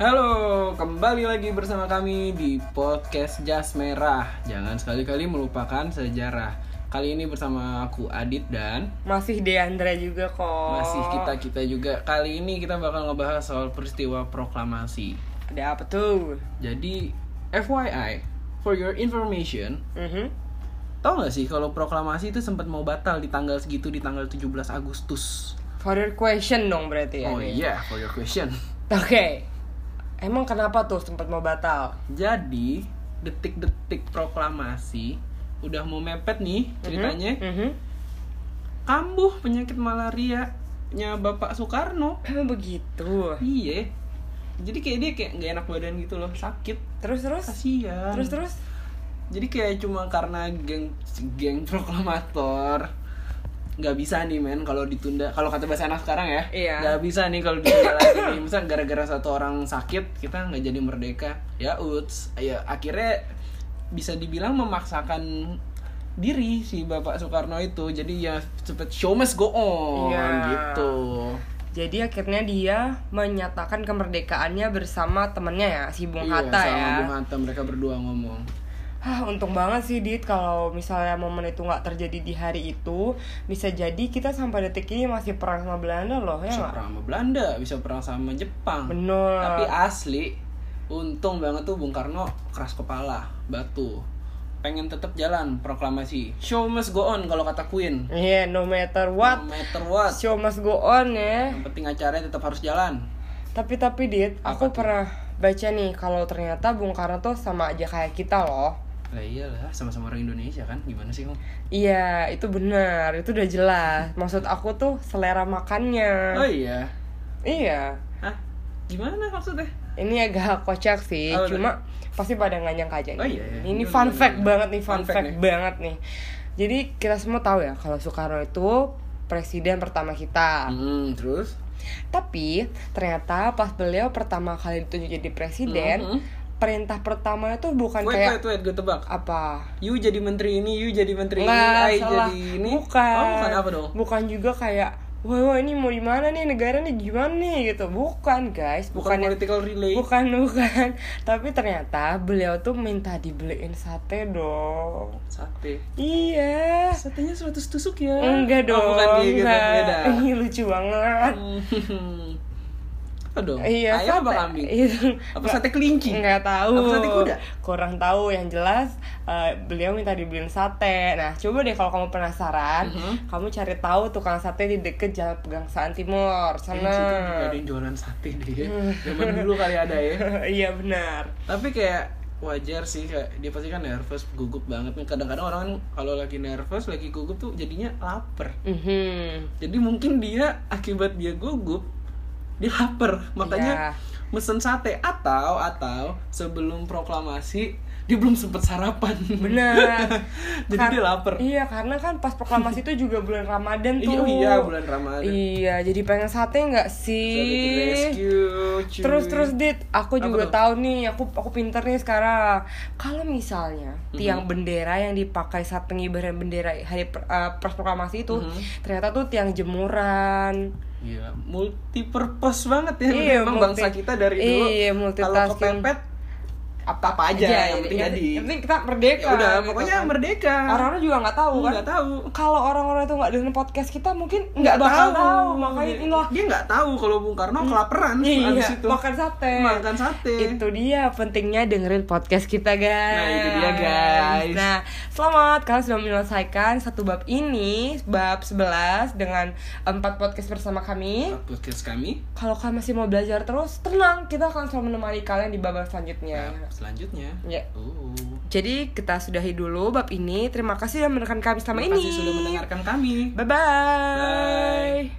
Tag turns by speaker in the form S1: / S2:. S1: Halo, kembali lagi bersama kami di podcast Jas Merah. Jangan sekali-kali melupakan sejarah. Kali ini bersama aku Adit dan
S2: Masih Deandra juga kok.
S1: masih kita kita juga. Kali ini kita bakal ngebahas soal peristiwa proklamasi.
S2: Ada apa tuh?
S1: Jadi FYI, for your information,
S2: Mhm.
S1: tau gak sih kalau proklamasi itu sempat mau batal di tanggal segitu di tanggal 17 Agustus.
S2: For your question dong berarti ya.
S1: oh
S2: nih.
S1: iya, for your question.
S2: Oke. Emang kenapa tuh sempat mau batal? Mhm.
S1: Jadi detik-detik proklamasi udah mau mepet nih ceritanya.
S2: Mhm.
S1: kambuh penyakit malaria nya Bapak Soekarno.
S2: Emang begitu.
S1: Iya. Jadi kayak dia kayak nggak enak badan gitu loh, sakit.
S2: Terus terus?
S1: Kasihan.
S2: Terus terus?
S1: Jadi kayak cuma karena geng geng proklamator nggak bisa nih men kalau ditunda kalau kata bahasa anak sekarang ya
S2: Iya.
S1: nggak bisa nih kalau ditunda lagi nih misal gara-gara satu orang sakit kita nggak jadi merdeka ya uts ya akhirnya bisa dibilang memaksakan diri si bapak Soekarno itu jadi ya cepet show must go on
S2: Iya.
S1: gitu
S2: Jadi akhirnya dia menyatakan kemerdekaannya bersama temennya ya, si Bung Hatta
S1: iya, sama
S2: ya.
S1: Bung Hatta mereka berdua ngomong
S2: Hah, untung banget sih Dit kalau misalnya momen itu nggak terjadi di hari itu, bisa jadi kita sampai detik ini masih perang sama Belanda loh ya
S1: bisa
S2: nggak?
S1: perang sama Belanda bisa perang sama Jepang
S2: Bener.
S1: Tapi asli, untung banget tuh Bung Karno keras kepala, batu. Pengen tetap jalan proklamasi. Show must go on kalau kata Queen.
S2: Iya, no matter what,
S1: No matter what.
S2: show must go on ya.
S1: Yang penting acaranya tetap harus jalan.
S2: Tapi tapi Dit,
S1: Apa
S2: aku pernah baca nih kalau ternyata Bung Karno tuh sama aja kayak kita loh.
S1: Lah iyalah, sama-sama orang Indonesia kan. Gimana sih, Om?
S2: Iya, itu benar, itu udah jelas. Maksud aku tuh selera makannya.
S1: Oh iya.
S2: Iya.
S1: Hah? Gimana maksudnya?
S2: Ini agak kocak sih,
S1: Oh,
S2: cuma pasti pada nggak nyangka aja nih.
S1: Oh, iya, iya.
S2: Ini
S1: Gimana,
S2: fun
S1: gimana,
S2: fact
S1: gimana?
S2: banget nih,
S1: Fun
S2: fun,
S1: fact
S2: fact
S1: nih.
S2: banget nih. Jadi kita semua tahu ya kalau Soekarno itu presiden pertama kita.
S1: Hmm, terus?
S2: Tapi ternyata pas beliau pertama kali ditunjuk jadi presiden,
S1: Mhm.
S2: perintah pertama itu bukan
S1: Wait,
S2: Kan kayak
S1: wait, wait, gue tebak.
S2: apa?
S1: You jadi menteri ini, you jadi menteri
S2: Nggak,
S1: ini, I
S2: salah.
S1: jadi ini.
S2: Bukan.
S1: Oh, bukan apa dong?
S2: Bukan juga kayak Wah, wah ini mau di mana nih negara nih gimana nih gitu bukan guys
S1: Bukan
S2: bukan yang-
S1: political relay.
S2: bukan bukan tapi ternyata beliau tuh minta dibeliin sate dong
S1: Sate.
S2: iya
S1: Satenya 100 Eh, tusuk ya.
S2: enggak dong Iya.
S1: Oh, bukan gitu,
S2: enggak.
S1: beda.
S2: Ih, lucu banget
S1: Hmm. apa dong?
S2: iya
S1: Ayam apa
S2: sate.
S1: kambing?
S2: Itu-
S1: Apa sate kelinci?
S2: Nggak tahu.
S1: Apa sate kuda?
S2: Kurang tahu. Yang jelas eh, beliau minta dibeliin sate. Nah, coba deh kalau kamu penasaran,
S1: Mhm.
S2: kamu cari tahu tukang sate di deket Jalan Pegangsaan Timur.
S1: Kayaknya di situ juga
S2: Sana.
S1: ada yang jualan sate deh ya.
S2: Hmm.
S1: Zaman dulu kali ada ya.
S2: iya benar.
S1: Tapi kayak wajar sih kayak dia pasti kan nervous, gugup banget nih. Kadang-kadang orang kan kalau lagi nervous, lagi gugup tuh jadinya lapar. Mm-hmm.
S2: Mhm.
S1: Jadi mungkin dia akibat dia gugup dia lapar, makanya
S2: Iya.
S1: mesen sate atau atau sebelum proklamasi dia belum sempet sarapan.
S2: Benar.
S1: Jadi
S2: Kar-
S1: dia lapar.
S2: Iya, karena kan pas proklamasi itu juga bulan Ramadan tuh.
S1: Iya, iya bulan Ramadan.
S2: Iya, jadi pengen sate nggak sih?
S1: Celebrity Rescue, cuy.
S2: Terus terus dit, aku
S1: Apa
S2: juga
S1: tuh?
S2: tahu nih, aku aku pinter nih sekarang. Kalau misalnya tiang bendera yang dipakai saat pengibaran bendera hari per- eh, pers proklamasi itu ternyata tuh tiang jemuran.
S1: Iya, multipurpose banget ya.
S2: Iya,
S1: Memang
S2: multi-
S1: bangsa kita dari dulu
S2: iya,
S1: kalau
S2: multitasking. Iya,
S1: kepepet apa-apa aja yang penting jadi.
S2: ya, Yang penting kita merdeka.
S1: Ya udah,
S2: gitu
S1: pokoknya
S2: kan.
S1: merdeka.
S2: orang-orang juga nggak tahu kan.
S1: nggak tahu.
S2: Kalau orang-orang itu nggak dengerin podcast kita mungkin nggak bakal tahu. Makanya inilah
S1: Dia nggak tahu kalau Bung Karno kelaparan
S2: Iya,
S1: abis itu.
S2: makan sate.
S1: Makan sate.
S2: Itu dia pentingnya dengerin podcast kita guys.
S1: Nah, itu dia, guys.
S2: Nah, selamat kalian sudah menyelesaikan satu bab ini, bab 11 dengan empat podcast bersama kami.
S1: Nah, Podcast kami.
S2: Kalau kalian masih mau belajar terus, tenang, kita akan selalu menemani kalian di bab selanjutnya.
S1: Nah, selanjutnya.
S2: Ya.
S1: Oh.
S2: Jadi kita sudahi dulu bab ini. Terima kasih sudah menekan kami selama
S1: Terima
S2: ini.
S1: kasih sudah mendengarkan kami.
S2: Bye-bye.
S1: Bye.